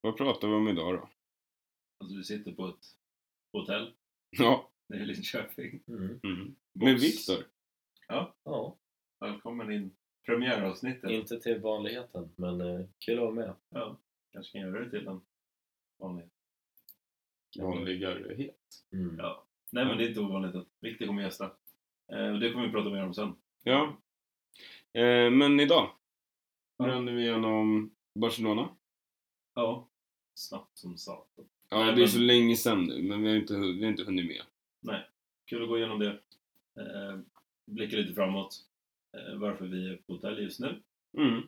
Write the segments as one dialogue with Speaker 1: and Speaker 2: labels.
Speaker 1: Vad pratar vi om idag då?
Speaker 2: Alltså vi sitter på ett hotell
Speaker 1: Ja.
Speaker 2: nere i Linköping.
Speaker 3: Mm.
Speaker 1: Mm.
Speaker 2: Box.
Speaker 1: Med Viktor.
Speaker 3: Ja,
Speaker 2: Välkommen in. Premiäravsnittet.
Speaker 3: inte till vanligheten, men eh, kul att vara med.
Speaker 2: Ja, kanske kan göra det till en vanlig.
Speaker 1: Vanligare helt.
Speaker 3: Mm.
Speaker 2: Ja. Nej men det är inte ovanligt att Viktor kommer gästa. Eh, och det kommer vi prata mer om sen.
Speaker 1: Ja. Eh, men idag
Speaker 2: Ja.
Speaker 1: brände vi igenom Barcelona.
Speaker 2: Ja. Snabbt som satan.
Speaker 1: Ja,
Speaker 2: Nej,
Speaker 1: det är
Speaker 2: men-
Speaker 1: så länge sedan nu, men vi har inte, hu- vi har inte hunnit med.
Speaker 2: Kul att gå igenom det. Eh, blicka lite framåt. Eh, varför vi är på hotell just nu.
Speaker 1: Mm.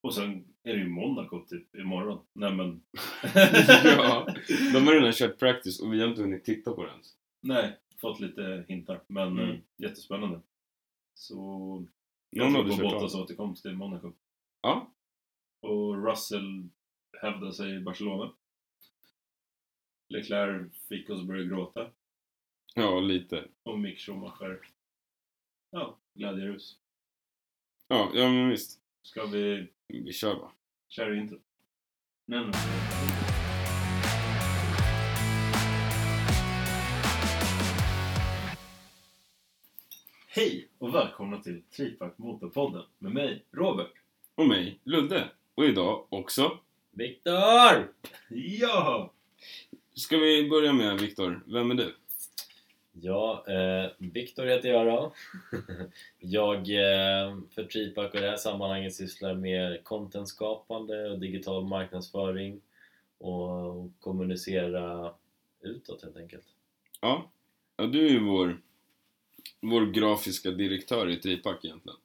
Speaker 2: Och sen är det ju Monaco typ imorgon. Nej men.
Speaker 1: ja. De har redan kört practice och vi har inte hunnit titta på det ens.
Speaker 2: Nej, fått lite hintar. Men
Speaker 1: Mm.
Speaker 2: eh, jättespännande. Så Jag
Speaker 1: Någon
Speaker 2: tror
Speaker 1: hade
Speaker 2: på
Speaker 1: kört av.
Speaker 2: Bottas återkomst till Monaco.
Speaker 1: Ja.
Speaker 2: Och Russell hävdade sig i Barcelona. Leclerc fick oss att börja gråta.
Speaker 1: Ja, lite.
Speaker 2: Och Mick Schumacher. Ja, glädjerus.
Speaker 1: Ja, ja men visst.
Speaker 2: Ska vi
Speaker 1: Vi kör bara.
Speaker 2: köra intro? Nej, nej. Hej och välkomna till Tripack Motorpodden med mig, Robert.
Speaker 1: Och mig, Ludde. Och idag också.
Speaker 3: Viktor!
Speaker 2: Ja!
Speaker 1: Ska vi börja med Viktor? Vem är du?
Speaker 3: Ja, eh, Viktor heter jag då. jag eh, för Tripack och det här sammanhanget sysslar med contentskapande och digital marknadsföring och kommunicera utåt helt enkelt.
Speaker 1: Ja. Ja, du är ju vår, vår grafiska direktör i Tripack egentligen.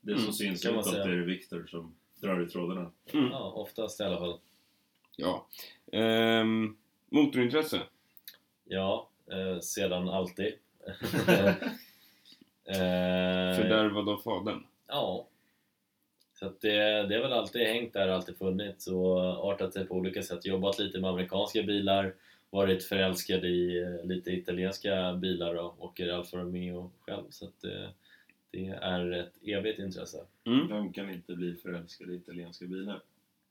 Speaker 2: Det som
Speaker 1: Mm,
Speaker 2: syns
Speaker 3: kan man
Speaker 2: utåt
Speaker 3: säga.
Speaker 2: är det Viktor som drar i trådarna.
Speaker 1: Mm.
Speaker 3: Ja, oftast i alla fall.
Speaker 1: Ja. Ehm, motorintresse?
Speaker 3: Ja, eh, sedan alltid. eh,
Speaker 1: Fördärvad av fadern?
Speaker 3: Ja. Så att det, det har väl alltid hängt där, alltid funnits och artat sig på olika sätt. Jobbat lite med amerikanska bilar, varit förälskad i eh, lite italienska bilar och åker Alfa Romeo själv. Så att det, det är ett evigt intresse.
Speaker 1: Mm.
Speaker 2: Vem kan inte bli förälskad i italienska bilar?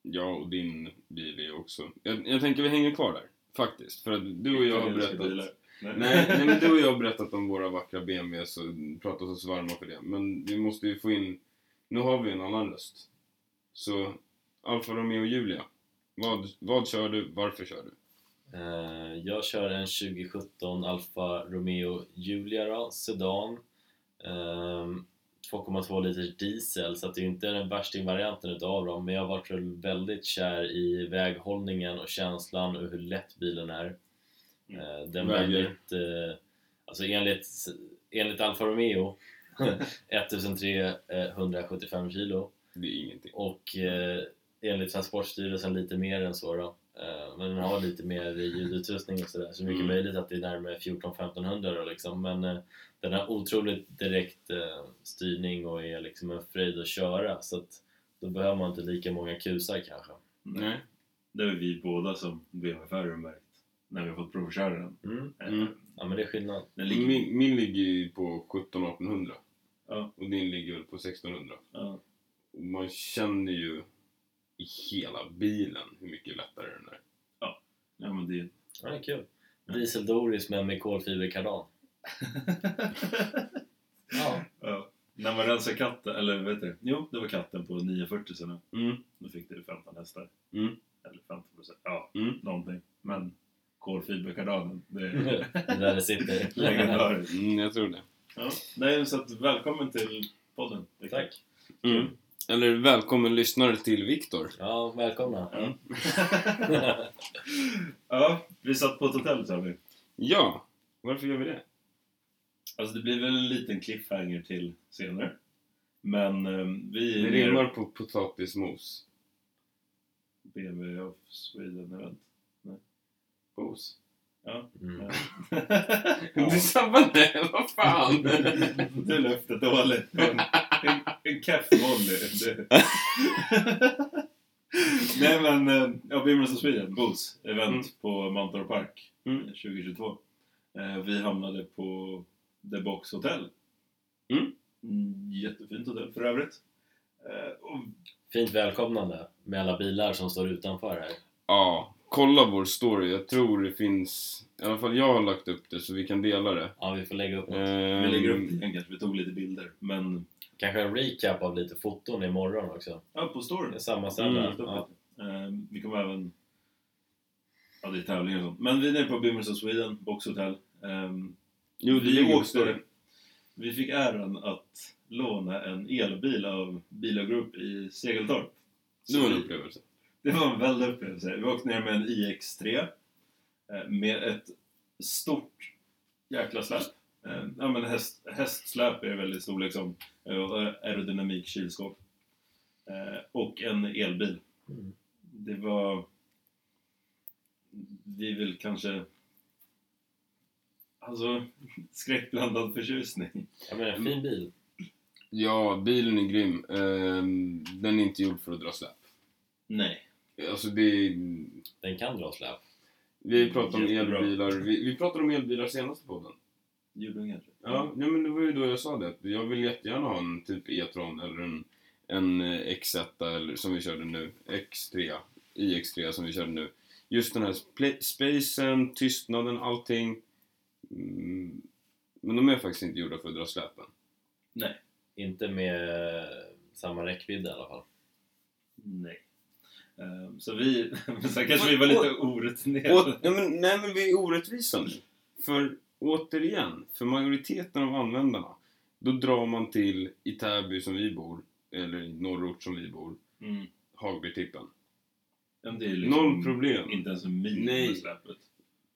Speaker 1: Ja, och din bil är också... Jag, jag tänker vi hänger kvar där, faktiskt. För att du och jag har
Speaker 2: Italienska
Speaker 1: berättat...
Speaker 2: bilar. Nej.
Speaker 1: Nej, nej, men du och jag har berättat om våra vackra BMWs och pratat oss varma för det. Men vi måste ju få in... Nu har vi en annan röst. Så, Alfa Romeo och Julia. Vad, vad kör du? Varför kör du?
Speaker 3: Eh, Jag kör en 2017 Alfa Romeo Giulia då, Sedan. Ehm, 2,2 liter diesel så att det är inte den värsta varianten utav dem men jag har varit väl väldigt kär i väghållningen och känslan och hur lätt bilen är. Eh, Den
Speaker 1: Väger.
Speaker 3: väldigt, eh, alltså enligt, enligt Alfa Romeo 1375 eh, kilo
Speaker 1: Det är ingenting.
Speaker 3: och eh, enligt Transportstyrelsen lite mer än så då. Eh, men den har lite mer ljudutrustning och sådär så mycket
Speaker 1: Mm.
Speaker 3: möjligt att det är närmare 14-1500 då liksom. Men eh, den har otroligt direkt eh, styrning och är liksom en fröjd att köra så att då behöver man inte lika många kusar kanske.
Speaker 1: Nej.
Speaker 2: Det är vi båda som BMW-affärer märkt när vi har fått provköra den.
Speaker 3: Mm.
Speaker 2: Eh,
Speaker 1: Mm.
Speaker 3: Ja men det är skillnad.
Speaker 2: Den ligger...
Speaker 1: Min, min ligger ju på 17-1800.
Speaker 2: Ja.
Speaker 1: Och din ligger väl på 1600.
Speaker 2: Ja.
Speaker 1: Och man känner ju i hela bilen hur mycket lättare den är.
Speaker 2: ja, men det...
Speaker 3: Ja, det är kul. Diesel Doris men med kolfiberkardan. Ja.
Speaker 2: ja. När man rensar katten, eller vet du? Jo, det var katten på 940 sen.
Speaker 1: Mm.
Speaker 2: Då fick det 15 hästar.
Speaker 1: Mm.
Speaker 2: Eller 15 procent. Ja,
Speaker 1: Mm.
Speaker 2: någonting. Men kolfiberkardanen, det är
Speaker 3: Det där det sitter.
Speaker 2: legendariskt.
Speaker 1: Mm, jag tror det.
Speaker 2: Ja. Nej, så att välkommen till podden. Rickard.
Speaker 3: Tack.
Speaker 1: Mm. Eller välkommen lyssnare till Viktor.
Speaker 3: Ja, välkomna.
Speaker 2: ja, vi satt på ett hotell sa vi.
Speaker 1: Ja, varför gör vi det?
Speaker 2: Alltså det blir väl en liten cliffhanger till senare. Men eh, vi
Speaker 1: Det
Speaker 2: är
Speaker 1: rimmar på potatismos.
Speaker 2: BMW of Sweden event.
Speaker 1: Mos.
Speaker 3: Mm.
Speaker 1: Ja. Du sabbade, vad fan!
Speaker 2: Du löfte dåligt. En, en, en keff volley. Det- Nej men, eh, ja, BMW of Sweden, BOS, event
Speaker 1: Mm.
Speaker 2: på Mantorp Park
Speaker 1: Mm.
Speaker 2: 2022. Eh, Vi hamnade på The Box Hotel.
Speaker 1: Mm.
Speaker 2: Mm, Jättefint hotell för övrigt. Eh, Och
Speaker 3: Fint välkomnande med alla bilar som står utanför här.
Speaker 1: Ja, kolla vår story. Jag tror det finns... I alla fall jag har lagt upp det så vi kan dela det.
Speaker 3: Ja, vi får lägga upp något.
Speaker 1: Ehm,
Speaker 2: Vi lägger upp det igen kanske, vi tog lite bilder. Men
Speaker 3: Kanske en recap av lite foton imorgon också.
Speaker 2: ja, på storyn.
Speaker 3: Sammanställa.
Speaker 1: Mm.
Speaker 3: ja.
Speaker 2: Eh, vi kommer även... Ja, det är tävlingar och sånt. Men vi är nere på Bimmers of Sweden, Box Hotel. Ehm,
Speaker 1: Jo, det ligger
Speaker 2: vi
Speaker 1: på
Speaker 2: åkte...
Speaker 1: story.
Speaker 2: Vi fick äran att låna en elbil av Bila Group i Segeltorp.
Speaker 1: Det var en
Speaker 2: Så vi-
Speaker 1: upplevelse.
Speaker 2: Det var en väldig upplevelse. Vi åkte ner med en iX3 eh, med ett stort jäkla släp. Eh, Ja, men häst, hästsläp är väldigt stor liksom. Eh, och Aerodynamik, kylskåp. Eh, Och en elbil.
Speaker 3: Mm.
Speaker 2: Det var... Vi vill kanske... Alltså, skräckblandad förtjusning.
Speaker 3: Ja, men en fin bil.
Speaker 1: Ja, bilen är grym. Ehm, den är inte gjord för att dra släp.
Speaker 2: Nej.
Speaker 1: Alltså det är...
Speaker 3: Den kan dra släp.
Speaker 1: Vi pratar om
Speaker 2: Jättebra.
Speaker 1: elbilar. Vi, vi pratade om elbilar senaste podden.
Speaker 2: Julungar.
Speaker 1: Ja, nej, men det var ju då jag sa det. Jag vill jättegärna ha en typ E-tron eller en, en eh, X1 eller, som vi körde nu. X3, iX3 som vi körde nu. Just den här sp- spacen, tystnaden, allting. Mm, men de är faktiskt inte gjorda för att dra släpen.
Speaker 3: Inte med eh, samma räckvidd i alla fall.
Speaker 2: Nej. Eh, Så vi... Sen kanske vi var lite orutinerade.
Speaker 1: Åt, nej, men, nej men vi är orättvisa nu. För återigen, för majoriteten av användarna, då drar man till i Täby som vi bor, eller i norrort som vi bor,
Speaker 2: Mm.
Speaker 1: Hagbytippen.
Speaker 2: Ja, men det är liksom
Speaker 1: Noll problem.
Speaker 2: Inte ens en mil
Speaker 1: Nej.
Speaker 2: med släpet.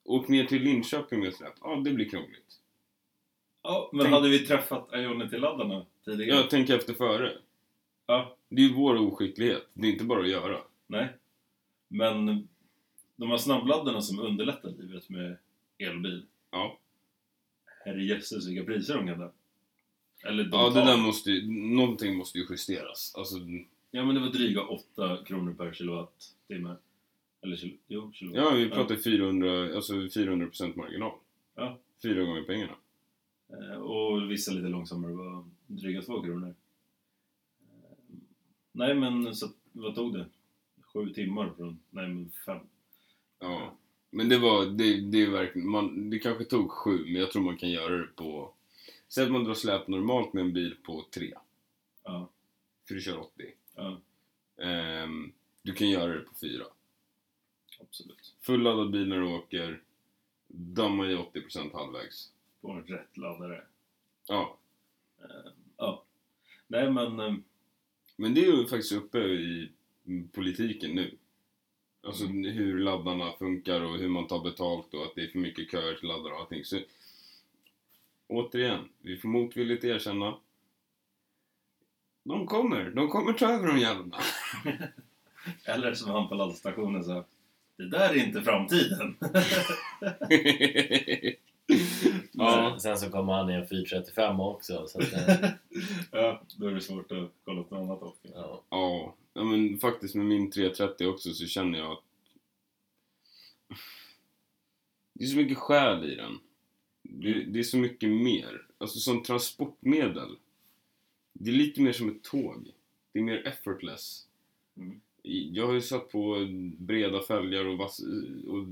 Speaker 1: Åk ner till Linköping med släp. Ja, det blir krångligt.
Speaker 2: Ja, men
Speaker 1: Tänk-
Speaker 2: hade vi träffat Ionity-laddarna tidigare?
Speaker 1: Jag tänker efter före.
Speaker 2: Ja.
Speaker 1: Det är ju vår oskicklighet. Det är inte bara att göra.
Speaker 2: Nej. Men de här snabbladdarna som underlättar livet med elbil.
Speaker 1: Ja.
Speaker 2: Herrejösses vilka priser de kan ta. Eller de
Speaker 1: Ja, det
Speaker 2: tar.
Speaker 1: där måste ju... Någonting måste ju justeras. Alltså,
Speaker 2: Ja, men det var dryga 8 kronor per kilowattimme. Eller kilo... Jo, kilowatt.
Speaker 1: ja, vi pratar 400... Alltså 400% marginal.
Speaker 2: Ja.
Speaker 1: Fyra gånger pengarna.
Speaker 2: Eh, Och vissa lite långsammare var dryga 2 kronor. Eh, Nej, men så att- vad tog det? Sju timmar från... Nej, men fem.
Speaker 1: Ja. Men det var... Det, det är verkligen... Man, det kanske tog sju, men jag tror man kan göra det på... Säg att man drar släp normalt med en bil på tre.
Speaker 2: Ja.
Speaker 1: För du kör 80.
Speaker 2: Ja,
Speaker 1: Ehm, du kan göra det på fyra.
Speaker 2: absolut.
Speaker 1: Fulladdad bil när du åker. Dammar i 80% halvvägs.
Speaker 2: På en rätt laddare.
Speaker 1: Ja.
Speaker 2: Nej, men... eh,
Speaker 1: Men det är ju faktiskt uppe i mm, politiken nu. Alltså hur laddarna funkar och hur man tar betalt och att det är för mycket köer till laddare och allting. Så, återigen, vi får motvilligt erkänna. De kommer, de kommer ta över de jävlarna.
Speaker 2: Eller som han på laddstationen sa. Det där är inte framtiden.
Speaker 1: ja,
Speaker 3: Sen, sen så kommer han i en 435 också. Så att, eh,
Speaker 2: Ja, då är det svårt att kolla på något annat eh, åker.
Speaker 3: ja.
Speaker 1: ja. ja, men faktiskt med min 330 också så känner jag att det är så mycket själ i den. Det, det är så mycket mer. Alltså som transportmedel. Det är lite mer som ett tåg. Det är mer effortless.
Speaker 2: Mm.
Speaker 1: I- Jag har ju satt på breda fälgar och, vass, och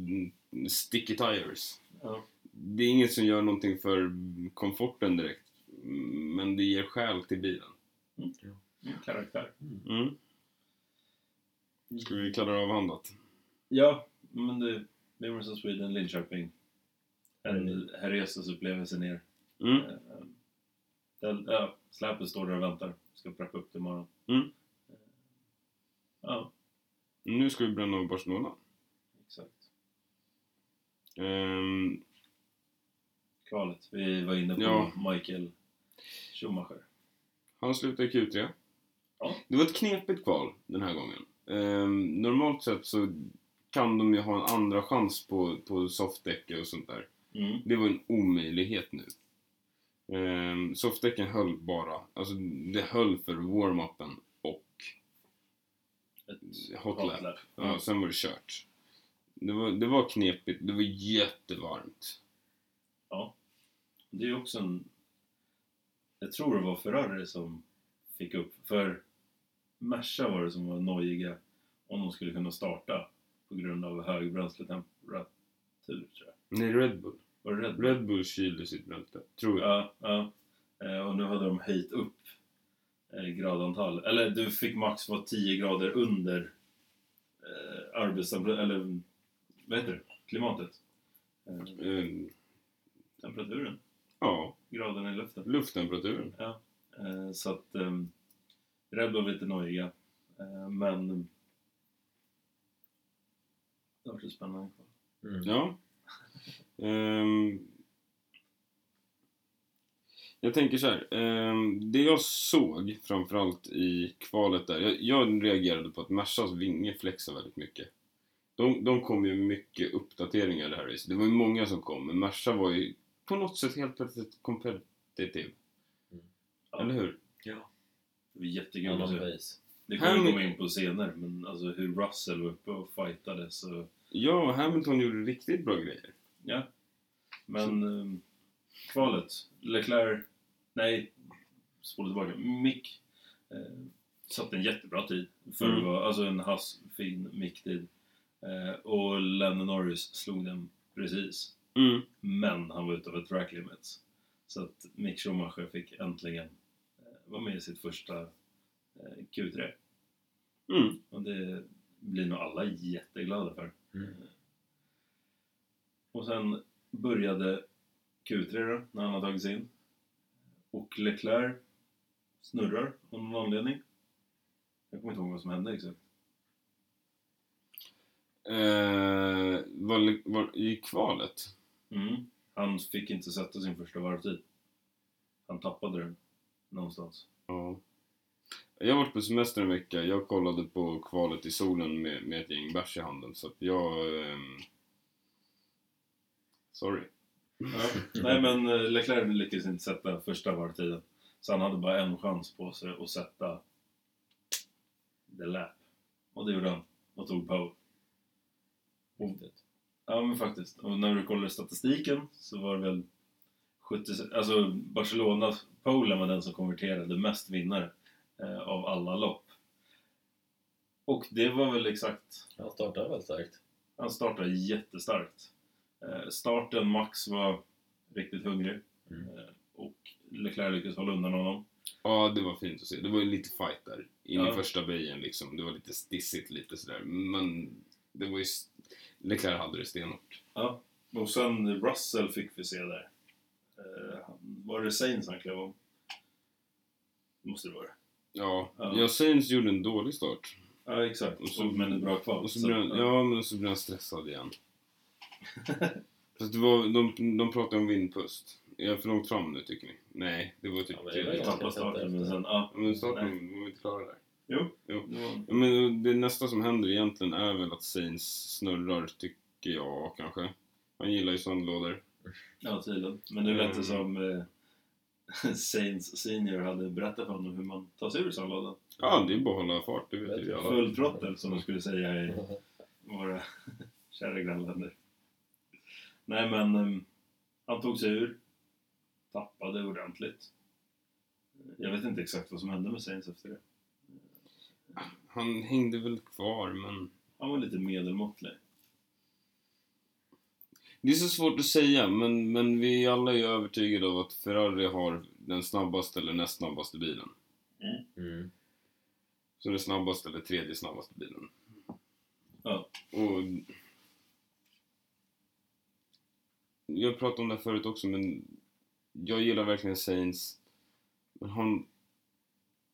Speaker 1: sticky tires.
Speaker 2: Ja.
Speaker 1: Det är inget som gör någonting för komforten direkt. Men det ger själ till bilen.
Speaker 2: Mm, Karaktär.
Speaker 1: Mm.
Speaker 2: Mm.
Speaker 1: Ska vi kalla det avhandlat?
Speaker 2: Ja, men du. Memories of Sweden, Linköping.
Speaker 3: Mm.
Speaker 2: En herrejösses upplevelse ner.
Speaker 1: Mm.
Speaker 2: Eh, där- Ja, släpet står där och väntar. Ska preppa upp det imorgon.
Speaker 1: Mm.
Speaker 2: Ja,
Speaker 1: Nu ska vi bränna av Barcelona.
Speaker 2: exakt.
Speaker 1: Ehm,
Speaker 2: Kvalet. Vi var inne på
Speaker 1: Ja.
Speaker 2: Michael Schumacher.
Speaker 1: han slutar i Q3.
Speaker 2: Ja.
Speaker 1: Det var ett knepigt kval den här gången. Ehm, normalt sett så kan de ju ha en andra chans på, på softdäck och sånt där.
Speaker 2: Mm.
Speaker 1: Det var en omöjlighet nu. Ehm, softdäcken höll bara. Alltså det höll för warm-upen och
Speaker 2: Ett
Speaker 1: hot lap.
Speaker 2: lap.
Speaker 1: Ja, sen var det kört. Det var, det var knepigt. Det var jättevarmt.
Speaker 2: Det är ju också en... Jag tror det var Ferrari som fick upp... För Merca var det som var nojiga om de skulle kunna starta på grund av hög bränsletemperatur tror jag.
Speaker 1: Nej, Red Bull.
Speaker 2: Var det Red Bull?
Speaker 1: Red Bull kylde sitt bränsle, tror jag.
Speaker 2: Ja, ja. Eh, Och nu hade de höjt upp eh, gradantal. Eller du fick max vara 10 grader under eh, arbetstemperatur, eller vad heter det? Klimatet? Eh,
Speaker 1: Ehm,
Speaker 2: Temperaturen?
Speaker 1: ja,
Speaker 2: Graden i luften?
Speaker 1: lufttemperaturen.
Speaker 2: Eh, Så att ehm, Red Bull var lite nojiga. Eh, Men det var så spännande.
Speaker 3: Mm.
Speaker 1: Ja. Ehm, jag tänker så här. ehm, det jag såg framförallt i kvalet där. Jag, jag reagerade på att Mercas vinge flexar väldigt mycket. De, de kom ju mycket uppdateringar i det här racet. Det var ju många som kom, men Merca var ju på något sätt helt plötsligt kompetitiv.
Speaker 3: Mm.
Speaker 2: Ja.
Speaker 1: Eller hur?
Speaker 2: Det var jättekul att
Speaker 3: Annan
Speaker 2: se.
Speaker 3: base.
Speaker 2: Det kommer vi
Speaker 1: Här-
Speaker 2: komma in på senare, men alltså hur Russell var uppe och fightade så...
Speaker 1: Ja, Hamilton gjorde riktigt bra grejer.
Speaker 2: Ja. Men ehm, kvalet. Leclerc... Nej, spola tillbaka. Mick eh, satte en jättebra tid. För
Speaker 1: Mm.
Speaker 2: det var alltså en hass, fin Mick-tid. Eh, och Lennon Norris slog den precis.
Speaker 1: Mm.
Speaker 2: Men han var utanför track limits. Så att Mick Schumacher fick äntligen eh, vara med i sitt första eh, Q3.
Speaker 1: Mm.
Speaker 2: Och det blir nog alla jätteglada för.
Speaker 3: Mm.
Speaker 2: Och sen började Q3 då, när han har tagits in. Och Leclerc snurrar av någon anledning. Jag kommer inte ihåg vad som hände exakt.
Speaker 1: Eh, var, var, I kvalet?
Speaker 2: Mm. Han fick inte sätta sin första varvtid. Han tappade den någonstans.
Speaker 1: Ja. Jag har varit på semester en vecka. Jag kollade på kvalet i solen med, med ett gäng bärs i handen. Så att jag... ehm, Sorry.
Speaker 2: Ja. Nej men eh, Leclerc lyckades inte sätta första varvtiden. Så han hade bara en chans på sig att sätta the lap. Och det gjorde han. Och tog pole.
Speaker 3: Riktigt.
Speaker 2: Ja men faktiskt. Och när du kollar statistiken så var det väl 70, alltså Barcelona, Polen var den som konverterade mest vinnare eh, av alla lopp. Och det var väl exakt,
Speaker 3: Han startade väldigt starkt.
Speaker 2: han startade jättestarkt. Eh, starten, Max var riktigt hungrig.
Speaker 3: Mm.
Speaker 2: Eh, och Leclerc lyckades hålla undan honom.
Speaker 1: Ja, det var fint att se. Det var ju lite fight där. In
Speaker 2: Ja.
Speaker 1: i första böjen liksom. Det var lite stissigt lite sådär. Men det var ju... s- Leclerc hade det stenhårt.
Speaker 2: Ja. Och sen Russell fick vi se där. Eh, han- var det Sainz han klev om? Måste det vara.
Speaker 1: Ja,
Speaker 2: Ja.
Speaker 1: ja Sainz gjorde en dålig start.
Speaker 2: Ja, exakt.
Speaker 1: Och så-
Speaker 2: men ett bra kval.
Speaker 1: Och så
Speaker 2: Så-
Speaker 1: blev han,
Speaker 2: ja.
Speaker 1: ja, men så blev han stressad igen. Fast det var, de, de pratade om vindpust. Är jag för långt fram nu tycker ni? Nej, det var typ
Speaker 3: Ja, men det
Speaker 1: tredje.
Speaker 3: var ju
Speaker 2: Vi tappade starten, men sen... Ja.
Speaker 1: Ja, Men starten var vi inte klara där.
Speaker 2: Jo.
Speaker 1: Jo.
Speaker 2: Det var-
Speaker 1: Ja, Men det nästa som händer egentligen är väl att Sainz snurrar, tycker jag kanske. Han gillar ju sandlådor.
Speaker 2: Ja, tydligen. Men nu lät det
Speaker 1: Mm.
Speaker 2: som eh, Saints Senior hade berättat för honom hur man tar sig ur sandlådan.
Speaker 1: Ja, det är bara att hålla fart, det vet
Speaker 3: Vet
Speaker 1: ju vi
Speaker 3: jag.
Speaker 1: alla.
Speaker 2: Full trottel, som de skulle säga i våra kära grannländer. Nej, men eh, han tog sig ur. Tappade ordentligt. Jag vet inte exakt vad som hände med Saints efter det.
Speaker 1: Han hängde väl kvar, men...
Speaker 2: Han var lite medelmåttlig.
Speaker 1: Det är så svårt att säga, men, men vi alla är ju övertygade av att Ferrari har den snabbaste eller näst snabbaste bilen.
Speaker 3: Mm.
Speaker 1: Så den snabbaste eller tredje snabbaste bilen.
Speaker 2: Ja.
Speaker 1: Och... Jag pratade om det här förut också, men jag gillar verkligen Saints. Men han...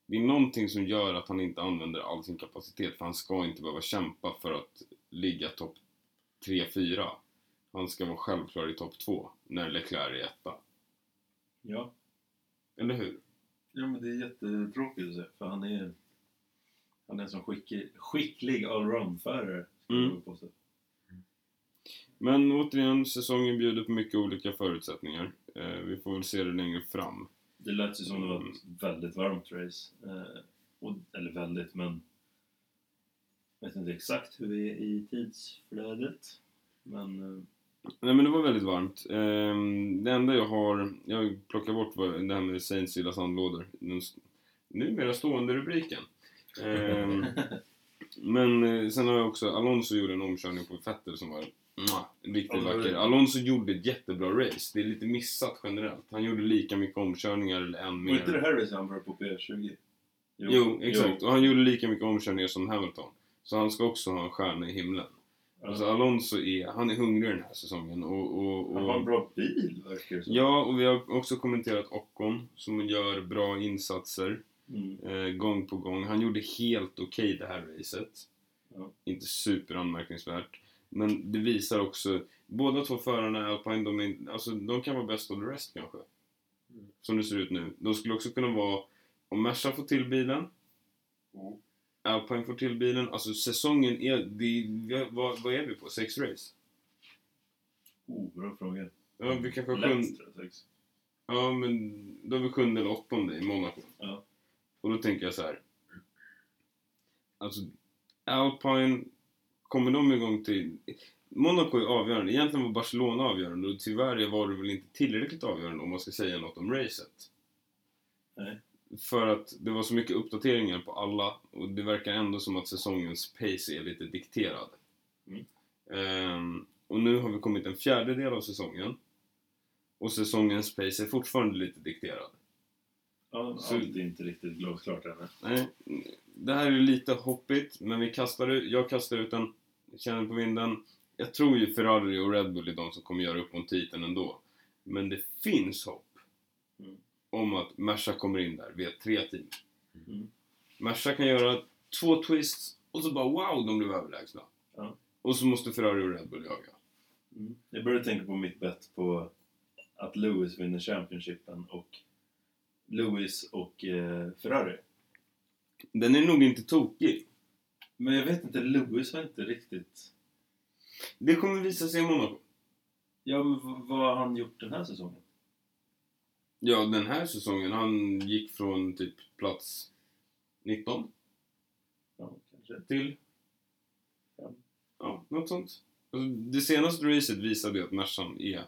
Speaker 1: Det är någonting som gör att han inte använder all sin kapacitet, för han ska inte behöva kämpa för att ligga topp 3-4. Han ska vara självklar i topp 2, när Leclerc är etta.
Speaker 2: Ja.
Speaker 1: Eller hur?
Speaker 2: Ja, men det är jättetråkigt att se, för han är, han är en sån skicklig, skicklig allroundförare. skulle jag
Speaker 1: Mm.
Speaker 2: vilja påstå.
Speaker 1: Men återigen, säsongen bjuder på mycket olika förutsättningar. Eh, vi får väl se det längre fram.
Speaker 2: Det lät ju som det var ett väldigt varmt race. Eh, och, eller väldigt, men jag vet inte exakt hur vi är i tidsflödet. Men eh,
Speaker 1: Nej men det var väldigt varmt. Ehm, Det enda jag har, jag plockar bort vad- det här med Saints gilla sandlådor. Den s- numera stående rubriken. Ehm, men eh, sen har jag också, Alonso gjorde en omkörning på Vettel som var mwah, riktigt
Speaker 2: Ja, det-
Speaker 1: vacker. Alonso gjorde ett jättebra race. Det är lite missat generellt. Han gjorde lika mycket omkörningar eller en
Speaker 2: Var inte det
Speaker 1: mer.
Speaker 2: Harris han var på P20?
Speaker 1: Jo, exakt. Och han gjorde lika mycket omkörningar som Hamilton. Så han ska också ha en stjärna i himlen.
Speaker 2: Ja.
Speaker 1: Alltså Alonso är, han är hungrig den här säsongen och... och,
Speaker 2: Han har en
Speaker 1: och
Speaker 2: bra bil, verkar det som.
Speaker 1: ja, och vi har också kommenterat Ocon som gör bra insatser.
Speaker 2: Mm.
Speaker 1: eh, gång på gång. Han gjorde helt okej det här racet.
Speaker 2: Ja.
Speaker 1: Inte superanmärkningsvärt. Men det visar också, båda två förarna i Alpine, de, är, alltså, de kan vara bäst of the rest kanske.
Speaker 3: Mm.
Speaker 1: Som det ser ut nu. De skulle också kunna vara, om Merca får till bilen,
Speaker 2: Mm.
Speaker 1: Alpine får till bilen, alltså säsongen är, det, är- vad, vad är vi på? Sex race?
Speaker 2: Oh, bra fråga.
Speaker 1: Ja, vi kanske har sjunde,
Speaker 2: Lätt, tror jag, sex.
Speaker 1: ja men då är vi sjunde eller åttonde i Monaco.
Speaker 2: Ja.
Speaker 1: Och då tänker jag så här. Alltså, Alpine, kommer de igång till... Monaco är avgörande. Egentligen var Barcelona avgörande och tyvärr var det väl inte tillräckligt avgörande om man ska säga något om racet.
Speaker 2: Nej.
Speaker 1: För att det var så mycket uppdateringar på alla och det verkar ändå som att säsongens pace är lite dikterad.
Speaker 2: Mm.
Speaker 1: Ehm, och nu har vi kommit en fjärdedel av säsongen och säsongens pace är fortfarande lite dikterad.
Speaker 2: Ja,
Speaker 1: Så-
Speaker 2: Allt är inte riktigt glasklart ännu.
Speaker 1: Nej, det här är lite hoppigt, men vi kastar ut, jag kastar ut den, känner på vinden. Jag tror ju Ferrari och Red Bull är de som kommer göra upp om titeln ändå. Men det finns hopp
Speaker 2: Mm.
Speaker 1: om att Merca kommer in där, vi är tre team.
Speaker 2: Mm.
Speaker 1: Merca kan göra två twists och så bara wow, de blev överlägsna.
Speaker 2: Ja.
Speaker 1: Och så måste Ferrari och Red Bull jaga.
Speaker 2: Mm. Jag började tänka på mitt bett på att Lewis vinner Championshipen och Lewis och eh, Ferrari.
Speaker 1: Den är nog inte tokig.
Speaker 2: Men jag vet inte, Lewis har inte riktigt...
Speaker 1: Det kommer visa sig i Monaco.
Speaker 2: Ja, men v- vad har han gjort den här säsongen?
Speaker 1: Ja, den här säsongen, han gick från typ plats 19
Speaker 2: Ja, kanske.
Speaker 1: till...
Speaker 2: Fem.
Speaker 1: Ja, något sånt. Alltså, det senaste racet visade ju att Mercan är...